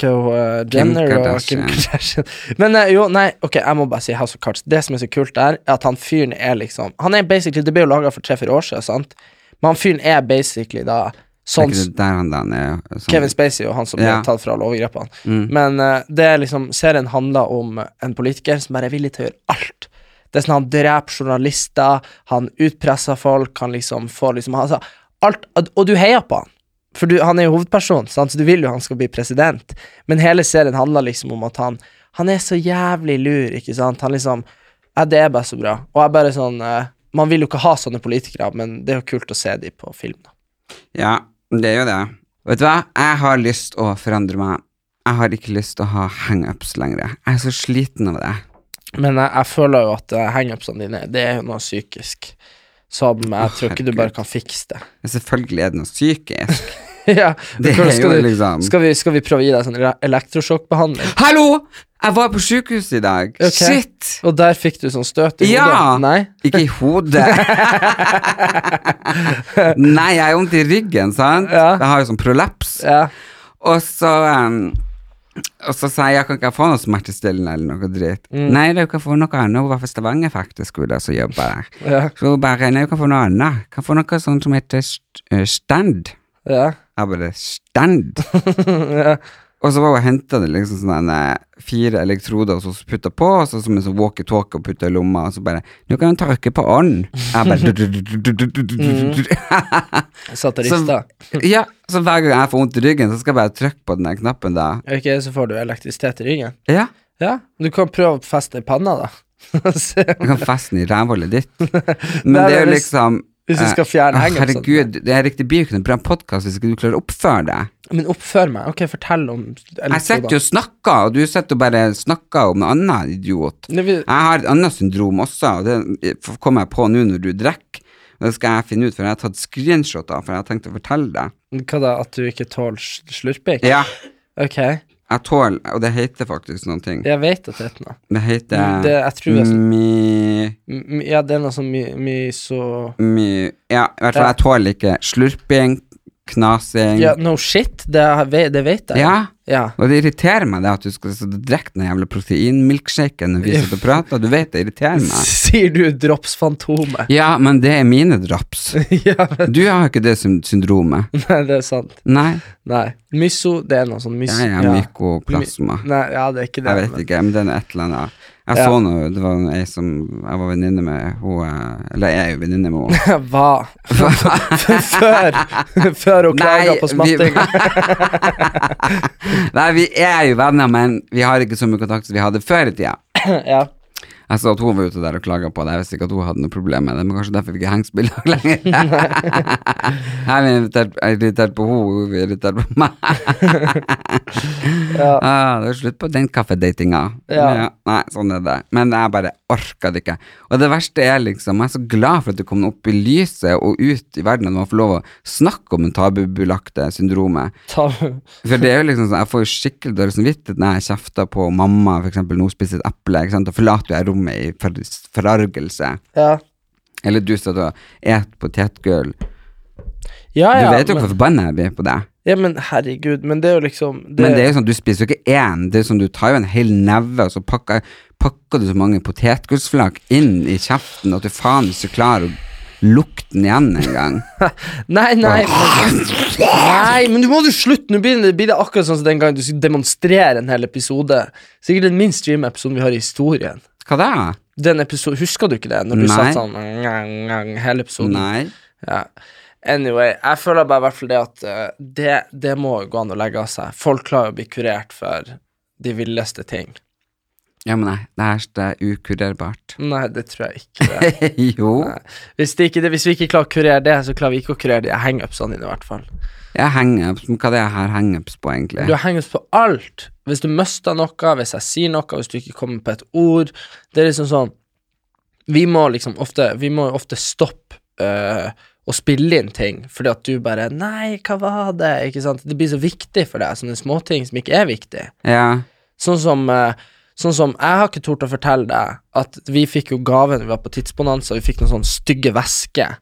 uh, Jenner og Kim Kardashian. Kardashian. Men eh, jo, nei, ok, jeg må bare si House of Cards. Det som er så kult der, er at han fyren er liksom Han er basically Det ble jo laga for tre-fire år siden, sant? Men han fyren er basically da sånn er ikke det der han da han er sånn, Kevin Spacey og han som Ja. ble tatt fra alle overgrepene. Mm. Men eh, det er liksom serien handler om en politiker som bare er villig til å gjøre alt. Det er sånn Han dreper journalister, han utpresser folk, han liksom får liksom altså, alt, Og du heier på han. For du, han er jo hovedperson, sant? så du vil jo han skal bli president. Men hele serien handler liksom om at han Han er så jævlig lur, ikke sant? Han liksom Ja, det er bare så bra. Og jeg er bare sånn eh, Man vil jo ikke ha sånne politikere, men det er jo kult å se de på film. da. Ja, det er jo det. Vet du hva, jeg har lyst å forandre meg. Jeg har ikke lyst til å ha hangups lenger. Jeg er så sliten av det. Men jeg, jeg føler jo at eh, hangupsene dine, det er jo noe psykisk. Som jeg Åh, tror ikke du herregud. bare kan fikse det. Men selvfølgelig er det noe psykisk. ja, Det skal, er jo skal, vi, liksom skal, vi, skal vi prøve å gi deg sånn ele- elektrosjokkbehandling? Hallo! Jeg var på sjukehuset i dag. Ok. Shit! Og der fikk du sånn støt i hodet? Ja! Nei? Ikke i hodet. Nei, jeg har vondt i ryggen, sant? Ja. Jeg har jo sånn prolaps. Ja. Og så em, Og så sa jeg jeg kan ikke få noe smertestillende eller noe dritt. Nei, du kan få noe annet. Hun var fra Stavanger, faktisk, hun der som jobba der. Ja. Så hun bare Nei, du kan få noe annet. Kan få noe sånt som heter st eh, stand. ja. Jeg bare Stand? Og så var hun og henta det liksom sånn eh, fire elektroder og så putta på, og så som en sånn walkietalkie og putta i lomma, og så bare 'Nå kan du tørke på ånd'. Jeg bare Satirister. Ja, så hver gang jeg får vondt i ryggen, så skal jeg bare trykke på den der knappen da. Ok, så får du elektrisitet i ryggen. Ja, Ja. Du kan prøve å feste i panna, da. Se. jeg kan feste den i rævhullet ditt. Men Nei, det er men jo hvis- liksom Hvis vi skal fjerne Å, hengen og sånt. herregud, det her riktig blir jo ikke noen bra podkast hvis ikke du klarer å oppføre deg. Men oppfør meg. Ok, fortell om Jeg sitter jo og snakker, og du sitter og bare snakker om noe annet, idiot. Nei, vi- Jeg har et annet syndrom også, og det kommer jeg på nå når du drikker. Og Det skal jeg finne ut, for jeg har tatt screenshoter, for jeg har tenkt å fortelle deg. Hva da, at du ikke tåler sl- slurping? Ja, Ok, jeg tåler Og det heter faktisk noen ting. jeg vet at det heter noe. Det heter Det, jeg tror jeg, mi... m- ja, det er noe sånn my, my så mi ja, i hvert fall, Ja. jeg tåler ikke slurping, knasing Ja, ja. no shit, det, er- ve- det vet jeg. Ja. Og det irriterer meg det at du skal sitte og drikke den jævla proteinmilkshaken når vi sitter og prater. Du vet det irriterer meg. Sier du dropsfantomet? Ja, men det er mine drops. ja, men Du har ikke det syn- syndromet. nei, det er sant. Nei, Nei. Myso, det er noe sånn mys... jeg er mykoplasma. Nei, ja, det er ikke det. Jeg vet ikke, men det er noe et eller annet. Jeg Ja. så noe, det var ei som jeg var venninne med, hun eh, Eller jeg er jo venninne med henne. ikke. Hva? før, før hun klaga på vi, smattinga. nei, vi er jo venner, men vi har ikke så mye kontakt som vi hadde før i tida. ja. Jeg så at hun var ute der og klaga på det, jeg visste ikke at hun hadde noe problem med det, men kanskje derfor vi ikke henger på lag lenger. jeg er irritert, jeg er irritert på henne, hun er irritert på meg. Ja. Ah, det er slutt på den kaffedatinga. Ja. Nei, sånn er det. Men jeg bare orka det ikke. Og det verste er liksom, jeg er så glad for at det kom opp i lyset og ut i verden at man får lov å snakke om det tabubelagte syndromet. Ta, For det er jo liksom sånn, jeg får jo skikkelig dårlig samvittighet når jeg kjefter på mamma, for eksempel, når hun spiser et eple, ikke sant, da forlater jeg rommet i for- forargelse. ja. Eller du satt og et potetgull. Ja, Du ja, vet jo men, hvor forbanna jeg blir på det. ja, men herregud, men det er jo liksom det, Men det er jo sånn, du spiser jo ikke én. Det er jo sånn, Du tar jo en hel neve, og så pakker, pakker du så mange potetgullsflak inn i kjeften at du faen ikke klarer å lukte den igjen engang. Nei, nei, men, nei, men du må jo slutte. Nå blir det, blir det akkurat sånn som den gangen du skulle demonstrere en hel episode. Sikkert den minst stream-episoden vi har i historien. Hva da? Den episoden, Husker du ikke det? Når du Nei. satt sånn ngang, ngang, hele episoden. Nei. Ja. Anyway, jeg føler bare i hvert fall det at eh, det, det må jo gå an å legge av seg. Folk klarer å bli kurert for de villeste ting. Ja, men nei, det her er ukurerbart. Nei, det tror jeg ikke. Det. jo. Hvis, det ikke det, hvis vi ikke klarer å kurere det, så klarer vi ikke å kurere de hangupsene dine, sånn i hvert fall. Jeg henger ups. Men Hva er det jeg har hangups på, egentlig? Du henger oss på alt. Hvis du mister noe, hvis jeg sier noe, hvis du ikke kommer på et ord Det er liksom sånn Vi må liksom ofte Vi må jo ofte stoppe øh, å spille inn ting, fordi at du bare 'Nei, hva var det?' Ikke sant? Det blir så viktig for deg, sånne småting som ikke er viktig. Ja. Sånn som øh, Sånn som, Jeg har ikke tort å fortelle deg at vi fikk jo gave når vi var på Tidsbonanza, vi fikk noen sånne stygge vesker,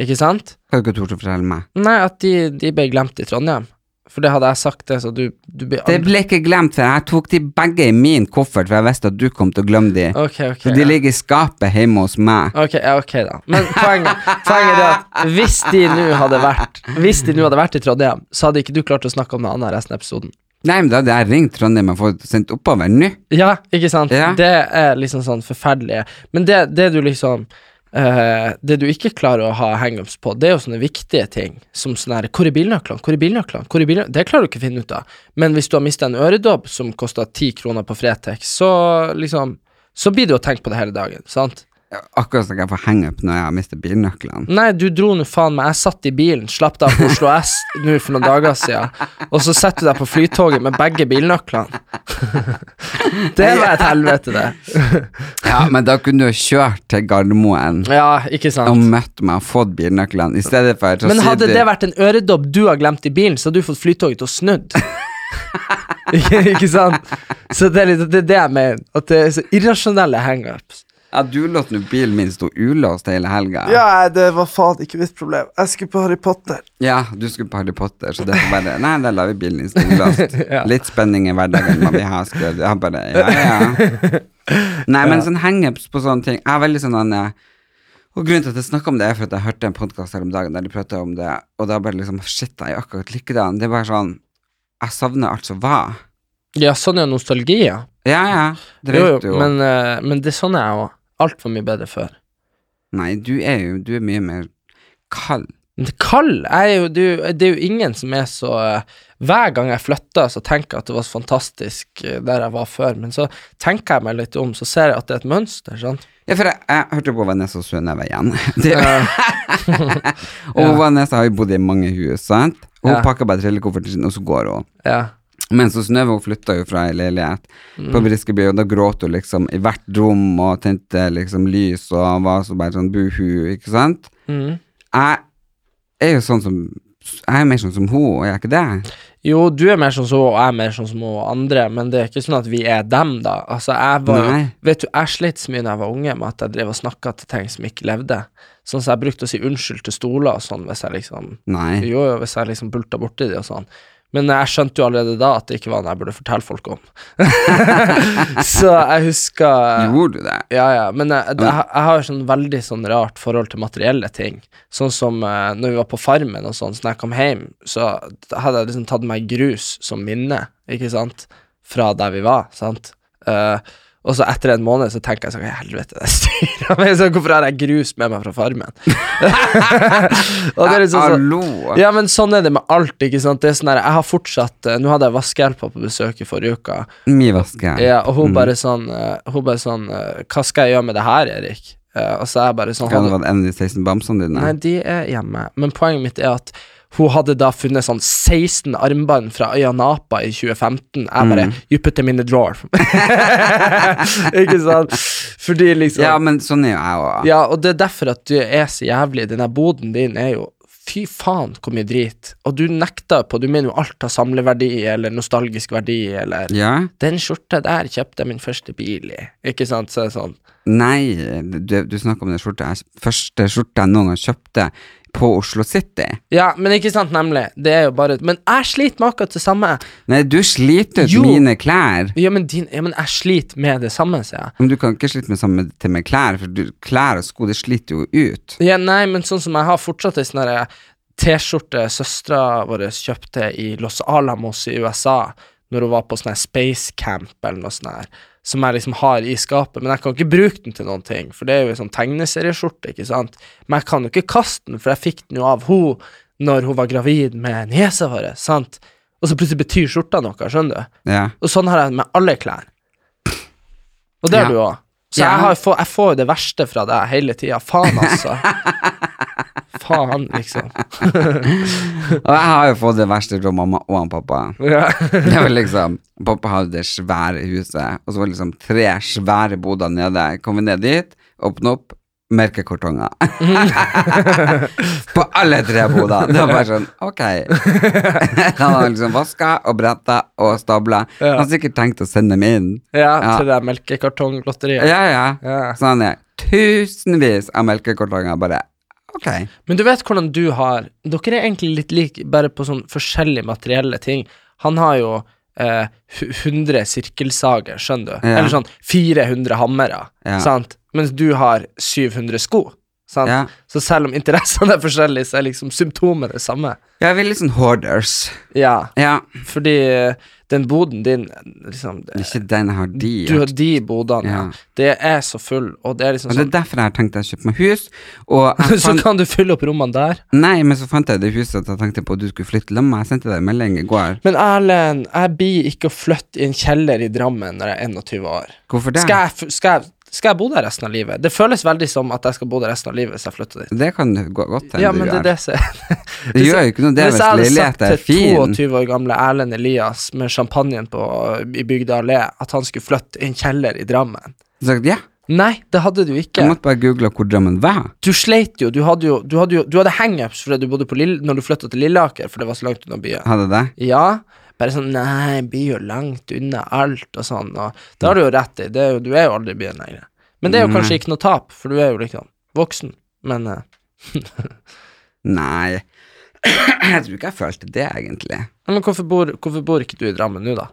ikke sant? Har du ikke tort å fortelle meg? Nei, at de, de ble glemt i Trondheim. For det hadde jeg sagt, det, så du, du blir Det ble ikke glemt, for jeg tok de begge i min koffert, for jeg visste at du kom til å glemme de. Ok, ok. Så de ligger i skapet hjemme hos meg. Ok, ja, ok da. Men poenget, poenget er at hvis de nå hadde vært Hvis de nå hadde vært i Trondheim, så hadde ikke du klart å snakke om noe annet resten av episoden. Nei, men da hadde jeg ringt Trondheim og fått sendt oppover nå. Ja, ikke sant? Ja. Det er liksom sånn forferdelig. Men det, det du liksom eh, det du ikke klarer å ha hangups på, det er jo sånne viktige ting som sånn her Hvor er bilnøklene? Hvor er bilnøklene? Hvor er bilnøklene? Det klarer du ikke å finne ut av. Men hvis du har mista en øredobb som kosta ti kroner på Fretex, så liksom Så blir det å tenke på det hele dagen, sant? Akkurat som jeg får hangup når jeg har mistet bilnøklene. Nei, du dro nå faen meg. Jeg satt i bilen, slapp deg av på Oslo S nå for noen dager siden, og så setter du deg på flytoget med begge bilnøklene. det var et helvete, det. Ja, men da kunne du jo kjørt til Gardermoen Ja, ikke og sant. møtt meg og fått bilnøklene, i stedet for så Men sier hadde du- det vært en øredobb du har glemt i bilen, så hadde du fått flytoget til å snudd. ikke, ikke sant? Så det er litt det, er det jeg mener. At det er så irrasjonelle hangups. Ja, du lot nå bilen min stå ulåst hele helga. det var faen ikke mitt problem. Jeg skulle på Harry Potter. Ja, du skulle på Harry Potter, så det var bare Nei, da lar vi bilen din stå ulåst. Ja. Litt spenning i hverdagen må vi ha, skrev du. Jeg bare Ja, ja. Nei, men sånn hangups på sånne ting Jeg er veldig sånn han eh, Og grunnen til at jeg snakker om det, er for at jeg hørte en podkast her om dagen der de pratet om det, og da bare liksom Shit, jeg er akkurat likedan. Det er bare sånn Jeg savner alt som var. Ja, sånn er jo nostalgi, ja. Ja, ja. Det Jo, vet du jo, jo. men, eh, men det er sånn er jeg òg. Altfor mye bedre før. Nei, du er jo Du er mye mer kald. Men Kald jeg er jo, det, er jo, det er jo ingen som er så eh, Hver gang jeg flytter, så tenker jeg at det var så fantastisk eh, der jeg var før, men så tenker jeg meg litt om, så ser jeg at det er et mønster. sant? Ja, for jeg, jeg hørte på Vanessa Sønneve igjen. Det, Eh, og Vanessa har jo bodd i mange hus, sant? Hun Ja. pakker bare trillekofferten sin, og så går hun. ja. Men så Synnøve hun flytta jo fra ei leilighet Mm. på Briskeby, og da gråt hun liksom i hvert rom og tente liksom lys og var så bare sånn buhu, ikke sant? Mm. Jeg er jo sånn som Jeg er mer sånn som hun, og jeg er ikke det? Jo, du er mer sånn som hun, og jeg er mer sånn som hun og andre, men det er ikke sånn at vi er dem, da. Altså, jeg var jo Nei. Vet du, jeg slet så mye da jeg var unge med at jeg drev og snakka til ting som ikke levde. Sånn som jeg brukte å si unnskyld til stoler og sånn hvis jeg liksom Nei. Jo, jo, hvis jeg liksom bulta borti de og sånn. Men jeg skjønte jo allerede da at det ikke var noe jeg burde fortelle folk om. så jeg husker Gjorde du det? ja, ja, men jeg, jeg, jeg har jo sånn veldig sånn rart forhold til materielle ting. Sånn som eh, når vi var på Farmen og sånn, så når jeg kom hjem, så hadde jeg liksom tatt meg grus som minne, ikke sant, fra der vi var, sant. Eh, og så etter en måned så tenker jeg sånn, «Hva i helvete, det styrer meg, så hvorfor har jeg grus med meg fra Farmen? og det er litt sånn, sånn Hallo! ja, men sånn er det med alt, ikke sant. Det er sånn her, jeg har fortsatt eh, Nå hadde jeg vaskehjelpa på besøk i forrige uke. Mye vaske. Ja, og Mm. hun bare sånn eh, Hun bare sånn eh, Hva skal jeg gjøre med det her, Erik? Eh, og så er jeg bare sånn Kan det hadde, være en av de 16 bamsene dine? Nei, de er hjemme. Men poenget mitt er at hun hadde da funnet sånn 16 armbånd fra øya Napa i 2015. Jeg bare Mm. You put them in the drawer. Ikke sant? Fordi liksom Ja, ja, men sånn er jo jeg òg. og det er derfor at du er så jævlig. Den der boden din er jo Fy faen, hvor mye drit. Og du nekter på Du mener jo alt har samleverdi eller nostalgisk verdi eller Ja? den skjorta der kjøpte jeg min første bil i. Ikke sant? Så er det sånn. Nei, du, du snakker om den skjorta. jeg- Første skjorta jeg noen gang kjøpte på Oslo City. Ja, men ikke sant, nemlig. Det er jo bare Men jeg sliter med akkurat det samme. Nei, du sliter ut Jo. mine klær. Ja, men, din, ja, men jeg sliter med det samme, sier jeg. Men du kan ikke slite med samme til med klær, for du, klær og sko, det sliter jo ut. Ja, nei, men sånn som jeg har fortsatt ei sånn herre T-skjorte søstera vår kjøpte i Los Alamos i USA når hun var på sånn her space camp eller noe sånt her, som jeg liksom har i skapet, men jeg kan ikke bruke den til noen ting, for det er jo en sånn tegneserieskjorte, ikke sant, men jeg kan jo ikke kaste den, for jeg fikk den jo av hun når hun var gravid med niesa vår, sant, og så plutselig betyr skjorta noe, skjønner du, Ja. og sånn har jeg det med alle klær. Og det har Ja. du òg. Så Ja. jeg, har, få- jeg får jo det verste fra deg hele tida. Faen, altså. Faen, liksom. Og jeg har jo fått det verste fra mamma og han pappa. Ja. Det var liksom, Pappa hadde det svære huset, og så var det liksom tre svære boder nede. Kom vi ned dit, åpne opp, merke kartonger. På alle tre bodene. Det var bare sånn, ok. Han hadde liksom vaska og bretta og stabla. Ja. Han har sikkert tenkt å sende dem inn. ja, Ja. til det der melkekartonglotteriet. Ja, ja. Ja. Så han er tusenvis av melkekartonger. Bare, ok. Men du vet hvordan du har Dere er egentlig litt like, bare på sånn forskjellige materielle ting. Han har jo eh, hu- 100 sirkelsager, skjønner du. Ja. Eller sånn 400 hammere, Ja. sant. Mens du har 700 sko. Sant? Ja. Så selv om interessene er forskjellige, så er liksom symptomene det samme. Ja, vi er litt sånn hoarders. Ja, Ja. fordi eh, den boden din liksom, Det er Ikke den jeg har de. Du har de bodene, ja. Ja. Det er så full, og det er liksom Og det sånn er derfor jeg har tenkt å kjøpe meg hus. Og jeg Så fant, kan du fylle opp rommene der. nei, men så fant jeg det huset at jeg tenkte på at du skulle flytte sammen med meg. Jeg sendte deg en melding i går. Men Erlend, jeg blir ikke å flytte i en kjeller i Drammen når jeg er 21 år. Hvorfor det? Skal jeg, f- skal, jeg, skal jeg bo der resten av livet? Det føles veldig som at jeg skal bo der resten av livet hvis jeg flytter dit. Det kan du gå godt hende Ja, du men det gjør. er det som Det gjør jo ikke noe det Hvis hvis jeg hadde sagt leiligheten er til fin. 22 år gamle Erlend Elias med champagnen på, i Bygda allé at han skulle flytte i en kjeller i Drammen Så sagt, ja, Nei, det hadde du ikke. jeg måtte bare google hvor Drammen var. du sleit jo, du hadde jo, du hadde, jo, du hadde hangups fordi du bodde på Lill når du flytta til Lilleaker, for det var så langt unna byen. Hadde det? Ja, bare sånn Nei, by er jo langt unna alt og sånn, og det har du jo rett i, det er jo, du er jo aldri i byen lenger. Men det er jo kanskje ikke noe tap, for du er jo liksom voksen, men eh, Nei. Jeg tror ikke jeg følte det, egentlig. ja, Men hvorfor bor, hvorfor bor ikke du i Drammen nå, da?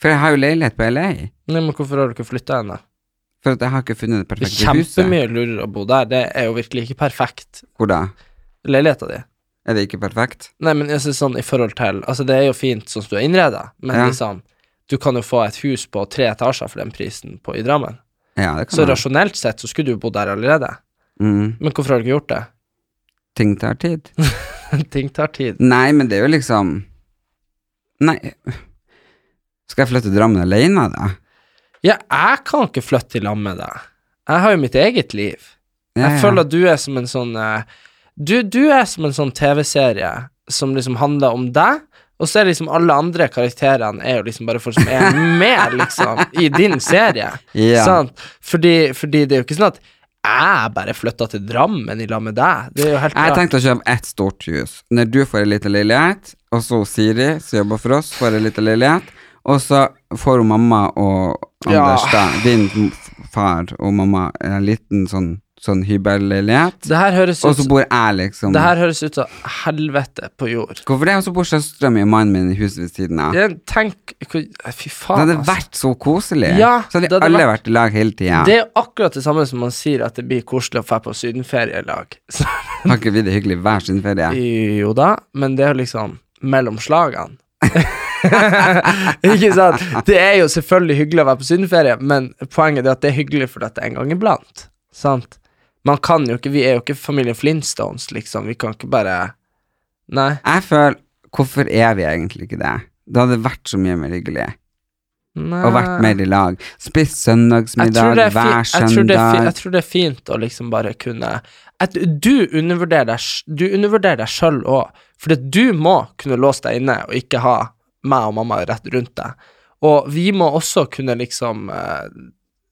For jeg har jo leilighet på LA. Nei, men Hvorfor har du ikke flytta ennå? For at jeg har ikke funnet det Det er perfekte huset. kjempemye lurere å bo der, det er jo virkelig ikke perfekt, Hvor da? leiligheta di. Er det ikke perfekt? Nei, men jeg synes sånn i forhold til Altså, det er jo fint sånn som du har innreda, men Ja. liksom Du kan jo få et hus på tre etasjer for den prisen på, i Drammen. Ja, det Så kan jeg. rasjonelt sett så skulle du jo bodd der allerede. Mm. Men hvorfor har du ikke gjort det? ting tar tid. Ting tar tid. Nei, men det er jo liksom Nei. Skal jeg flytte til Drammen alene, da? Ja, jeg kan ikke flytte til land med deg. Jeg har jo mitt eget liv. Ja, ja. Jeg føler at du er som en sånn eh, Du, du er som en sånn TV-serie som liksom handler om deg, og så er liksom alle andre karakterene er jo liksom bare folk som er med, liksom, i din serie. Ja. Sant? Fordi, fordi det er jo ikke sånn at jeg bare flytta til Drammen i lag med deg. Det er jo helt Jeg klart. tenkte å kjøpe ett stort hus. Når du får ei lita leilighet, og så Siri, som jobber for oss, får ei lita leilighet, og så får hun mamma og Ja. Anders, da, din f- far og mamma, en liten sånn, sånn hybelleilighet, Det her høres og ut, så bor jeg liksom det her høres ut som helvete på jord. Hvorfor det? Og så bor søstera mi og mannen min i huset ved siden av. Jeg, tenk hvor, Fy Det faen, altså. hadde vært så koselig. Ja, så hadde det hadde alle vært i lag hele tida. Det er jo akkurat det samme som man sier at det blir koselig å dra på sydenferie i lag. Så- Har ikke vi det hyggelig hver sin ferie? Jo da, men det er jo liksom mellom slagene. ikke sant? Det er jo selvfølgelig hyggelig å være på sydenferie, men poenget er at det er hyggelig fordi at det er en gang iblant. Sant? Man kan jo ikke, Vi er jo ikke familien Flintstones, liksom. Vi kan ikke bare Nei. Jeg føler Hvorfor er vi egentlig ikke det? Det hadde vært så mye mer hyggelig. Nei. og vært mer i lag. Spist Ah. Jeg tror søndagsmiddag det er fi- hver jeg tror det er fi- søndag. Jeg tror det er fint å liksom bare kunne at Du undervurderer deg sj- Du undervurderer deg sjøl òg, for du må kunne låse deg inne og ikke ha meg og mamma rett rundt deg. Og vi må også kunne liksom eh,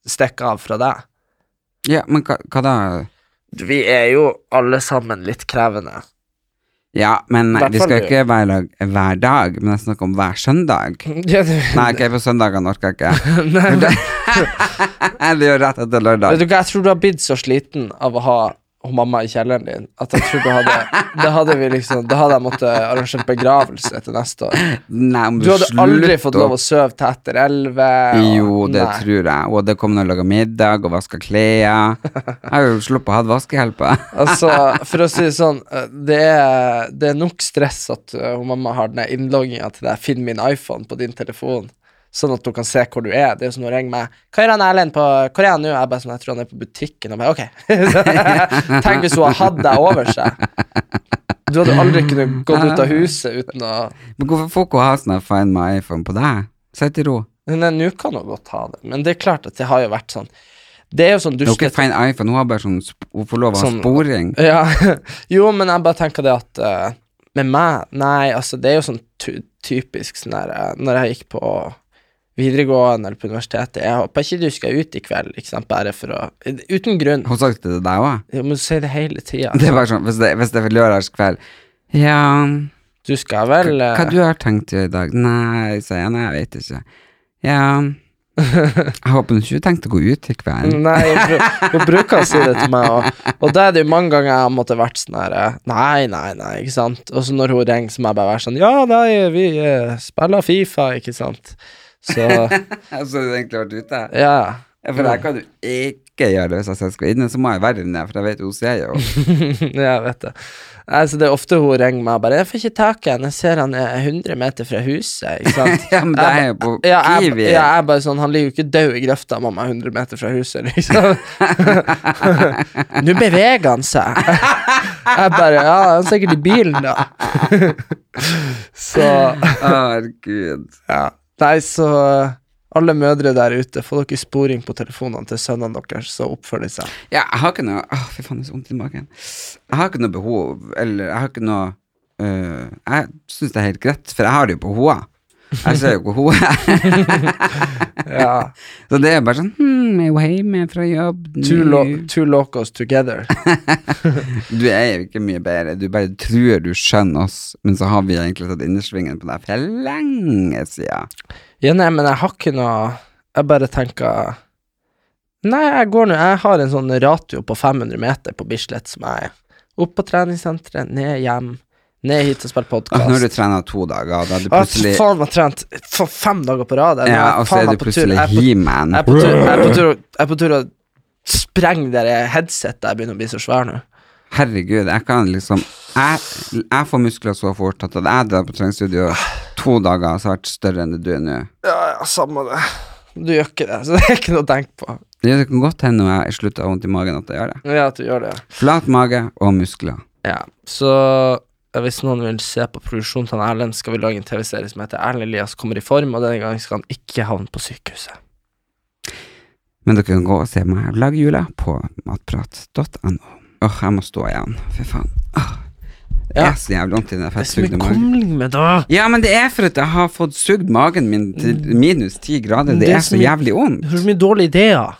stikke av fra deg. Ja, men hva, hva da? Vi er jo alle sammen litt krevende. Ja, men Hvertfall vi skal du. jo ikke være i lag hver dag, men jeg snakker om hver søndag. Ja, du, Nei, ok, på søndagene orker jeg ikke. Nei, men- Det er jo rett etter Vet lørdag. du hva, jeg tror du har blitt så sliten av å ha hun mamma i kjelleren din at jeg tror du hadde Da hadde vi liksom Da hadde jeg måttet arrangere begravelse til neste år. Nei, om Du hadde aldri fått lov å å sove til etter elleve. og- Jo, det Nei. tror jeg. Og det kom noen og laga middag og vaska klær. Jeg har jo sluppet å ha vaskehjelp. Altså, for å si det sånn, eh, det er, det er nok stress at eh, hun mamma har den der innlogginga til deg 'Finn min iPhone' på din telefon, sånn at hun kan se hvor du er. Det er jo som hun ringer meg 'Hva gjør han Erlend på Hvor er han nå?' Jeg bare sånn 'Jeg tror han er på butikken'. Og bare, ok Tenk hvis hun har hatt deg over seg. Du hadde aldri kunnet gått ut av huset uten å Men hvorfor får ikke hun ha sånn her Find my iPhone på deg? Sitt i ro. Nei, nå kan hun godt ha det, men det er klart at det har jo vært sånn. Det er jo sånn Det er jo ikke dustete Find iPhone, hun har bare sånn sp- Hun får lov å ha Sånn- sporing. Ja, jo, men jeg bare tenker det at eh, Med meg, nei, altså det er jo sånn tu- typisk sånn der eh, Når jeg gikk på videregående eller på universitetet Jeg håper ikke du skal ut i kveld, ikke sant, bare for å Uten grunn. Hun sa ikke det til deg òg? Du må si det hele tida. Det er bare sånn, hvis det, hvis det er lørdagskveld Ja, Du skal vel eh, hva du har tenkt å gjøre i dag? Nei, sier jeg, nei, jeg vet ikke. Ja Jeg håper du ikke tenkte å gå ut i kveld. eh, Nei, hun bru- hun bruker å si det til meg, og, og da er det jo mange ganger jeg har måttet vært sånn her eh, Nei, nei, nei, ikke sant. Og så når hun ringer, så må jeg bare være sånn Ja, nei, vi eh, spiller Fifa, ikke sant. Så Så du egentlig vært ute? ja. Ja, For jeg kan du ikke gjøre det hvis jeg skal inne, så må jeg være inne, for jeg vet jo hun ser jo. ja, jeg vet det. Altså, det er ofte hun ringer meg og bare 'Jeg får ikke tak i han, jeg ser han er 100 meter fra huset', ikke sant? Ja, men det er jo på Ja, jeg, Kiwi. ja, jeg er bare sånn Han ligger jo ikke død i grøfta, mamma, 100 meter fra huset, liksom. Nå beveger han seg. Jeg bare Ja, han er sikkert i bilen, da. så Herregud. ja. Nei, så alle mødre der ute, få dere sporing på telefonene til sønnene deres, så oppfører de seg. Ja, jeg har ikke noe Å, fy faen, det er så vondt i magen. Jeg har ikke noe behov, eller jeg har ikke noe øh, Jeg syns det er helt greit, for jeg har det jo på hoa. Jeg ser jo ikke hoa. Ja. Så det er bare sånn hmm, Er hun hjemme fra jobb nå?» Two, lo two locos together. Du er jo ikke mye bedre. Du bare tror du skjønner oss, men så har vi egentlig tatt innersvingen på deg for lenge siden. Altså, Ja, nei, men jeg har ikke noe Jeg bare tenker Nei, jeg går nå Jeg har en sånn ratio på 500 meter på Bislett som jeg er. Opp på treningssenteret, ned hjem, ned hit og spille Og podkast. når du trener to dager, da er du plutselig plutselig Faen, jeg har trent for fem dager på rad. Jeg, Ja, jeg- og så faen, er jeg du på tur- plutselig jeg er på- He-Man. Jeg er på tur- jeg er på tur å- jeg er på tur å sprenge det der headsetet jeg begynner å bli så svær nå. Herregud, jeg kan liksom Jeg, jeg får muskler så fort at hadde jeg drar på treningsstudio to dager, så har jeg vært større enn det du er nå. Ja, ja, samme det. Du gjør ikke det, så det er ikke noe å tenke på. Det kan godt hende når jeg slutter å ha vondt i magen at jeg gjør det. Ja, at du gjør det. Flat mage og muskler. Ja, så eh, hvis noen vil se på produksjonen til han Erlend, skal vi lage en TV-serie som heter Erlend Elias kommer i form, og denne gangen skal han ikke havne på sykehuset. Men dere kan gå og se meg lage jula på matprat.no. Åh, jeg må stå igjen. Fy faen. Åh, det Ja. er så jævlig vondt i den Det er så fettsugde mye magen. kumling med, da! Ja, men det er for at jeg har fått sugd magen min til minus ti grader. Det, Mm. Det er er så så mye- jævlig vondt. Du har så mye dårlige ideer.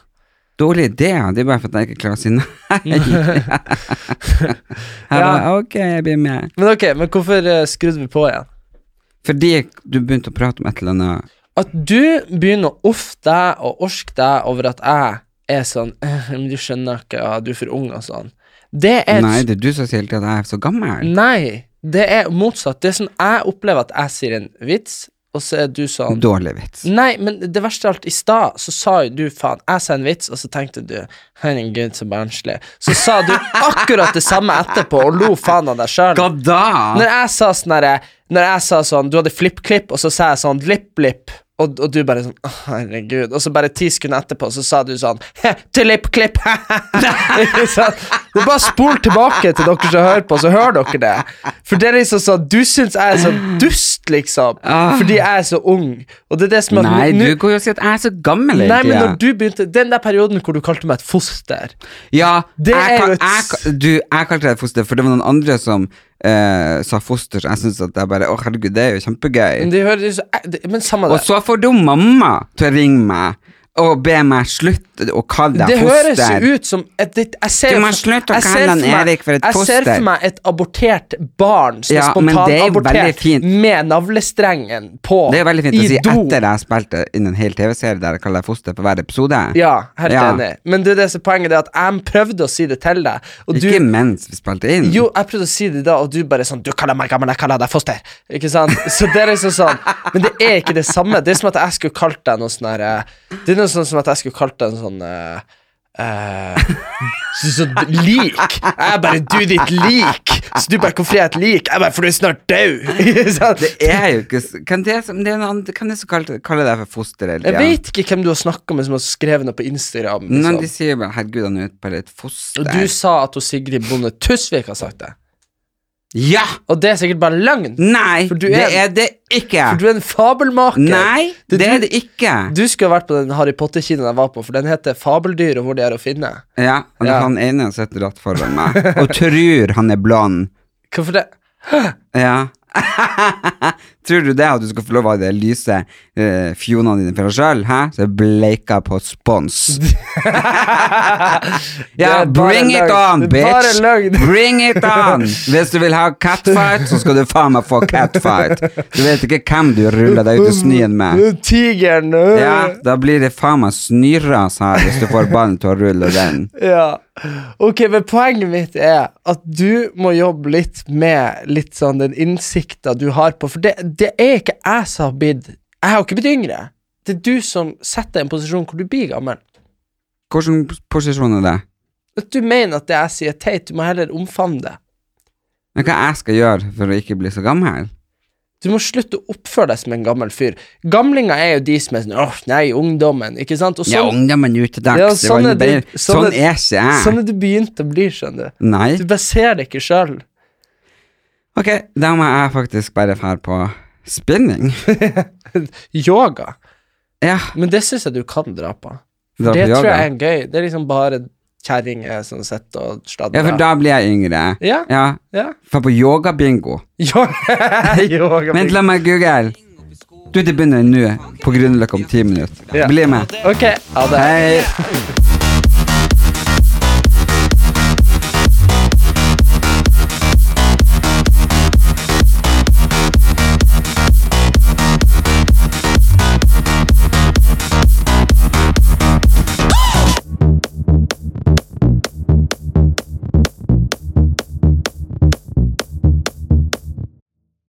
Dårlig idé. Det er bare for at jeg ikke klarer å si nei. jeg bare, ok, jeg blir med. Men ok, men hvorfor eh, skrudde vi på igjen? Fordi du begynte å prate om et eller annet At du begynner å offe deg og orske deg over at jeg er sånn «Eh, Men du skjønner ikke, ja, du er for ung og sånn. Det er et Nei, det er du som sier hele tiden at jeg er så gammel. Nei, det er motsatt. Det er sånn jeg opplever at jeg sier en vits, og så er du sånn Dårlig vits. Nei, men det verste av alt, i stad så sa jo du faen Jeg sa en vits, og så tenkte du herregud, så barnslig. Så sa du akkurat det samme etterpå og lo faen av deg sjøl. Hva da? Når jeg sa sånn herre Når jeg sa sånn Du hadde flipp-klipp, og så sa jeg sånn lipp-lipp. Og, og du bare sånn Å, herregud. Og så bare ti sekunder etterpå så sa du sånn «He, Til lipp-klipp! Ikke sant? Det er bare spol tilbake til dere som hører på, så hører dere det. For det er liksom sånn Du syns jeg er så dust, liksom. Ah. Fordi jeg er så ung. Og det er det som er at Nei, nå- du går jo og sier at jeg er så gammel hele Nei, men tiden. når du begynte Den der perioden hvor du kalte meg et foster Ja, Det er jeg, jo kan, et- jeg, kan- du, jeg kalte det et foster, for det var noen andre som eh, sa foster, så jeg syntes at jeg bare Å, herregud, det er jo kjempegøy. Det høres eh, det- Men samme Og det. så får du mamma til å ringe meg og be meg slutte å kalle deg Det høres foster. ut som et, det, jeg ser, Du må slutte å jeg ser kalle han for meg- Erik for et Jeg ser foster. for meg et abortert barn som Ja, er men det er jo veldig spontanabortert fint. med navlestrengen på Det er jo veldig fint i å si do. etter jeg spilte inn en hel TV-serie der jeg kaller deg foster på hver episode. Ja, helt Ja. enig. Men det er det som er poenget det er at jeg prøvde å si det til deg, og du Ikke mens vi spilte inn. jo, jeg prøvde å si det da, og du bare sånn Du kaller meg gammel, jeg kaller deg foster. Ikke sant? Så det er liksom sånn Men det er ikke det samme. Det er som at jeg skulle kalt deg noe sånn her eh, Det er noe sånn som at jeg skulle kalt deg en sånn eh, eh, så, så, lik. Jeg bare Du, ditt lik. Så du bare Hvorfor er jeg et lik? Jeg bare For du er snart død. Ikke sant? Det er jo ikke s- Kan det som, det er noen, andre- kan det som kaller, kaller deg for foster hele Jeg tiden? vet ikke hvem du har snakka med som har skrevet noe på Instagram. Men de Liksom. sier jo bare 'herregud, han er jo bare et foster'. Og du sa at hun Sigrid Bonde Tusvik har sagt det. Ja! Og det er sikkert bare løgn. Nei, For du det er- er det ikke. For du er en fabelmaker. Nei, det, Det- du- er det ikke. Du skulle ha vært på den Harry Potter-kinoen jeg var på, for den heter Fabeldyr og hvor de er å finne. Ja, og det Ja. er han ene sitter rett foran meg og tror han er blond. Hvorfor det? Ja. tror du det at du skal få lov av de lyse eh, fjonene dine for deg sjøl? Hæ? Så bleika på spons. Ja, Det er bare bring it løgn. on, Det er bare bitch! løgn. Bring it on! Hvis du vil ha catfight, så skal du faen meg få catfight. Du vet ikke hvem du ruller deg ut i snøen med. Tigeren. Ja, da blir det faen meg snyrras her hvis du får ballen til å rulle den. Ja. Ok, men poenget mitt er at du må jobbe litt med litt sånn den innsikta du har på For det, det er ikke jeg som har blitt Jeg har ikke blitt yngre. Det er du som setter deg i en posisjon hvor du blir gammel. Hvilken posisjon er det? At du mener at det jeg sier er teit, du må heller omfavne det. Men hva jeg skal gjøre for å ikke bli så gammel? Du må slutte å oppføre deg som en gammel fyr. Gamlinger er jo de som er sånn Åh, nei, ungdommen. Ikke sant? Og Ja, sånn, ungdommen nå til dags. Ja, det var sånn er jo bare- det- sånn sånn er- er ikke jeg. sånn er du begynt å bli, skjønner du. Nei. Du bare ser det ikke sjøl. Ok, da må jeg faktisk bare fære på spinning. Yoga. Ja, Men det syns jeg du kan dra på. dra det på tror jeg yoga. er gøy. Det er liksom bare kjerringer som sitter og Ja, sladrer. for da blir jeg yngre. Ja, Ja, ja. for på yogabingo. Yoga. Yoga. Vent, la meg google. Du, det begynner nå på Grünerløkka om ti minutter. Ja. Bli med. Ok, ha det. Hei.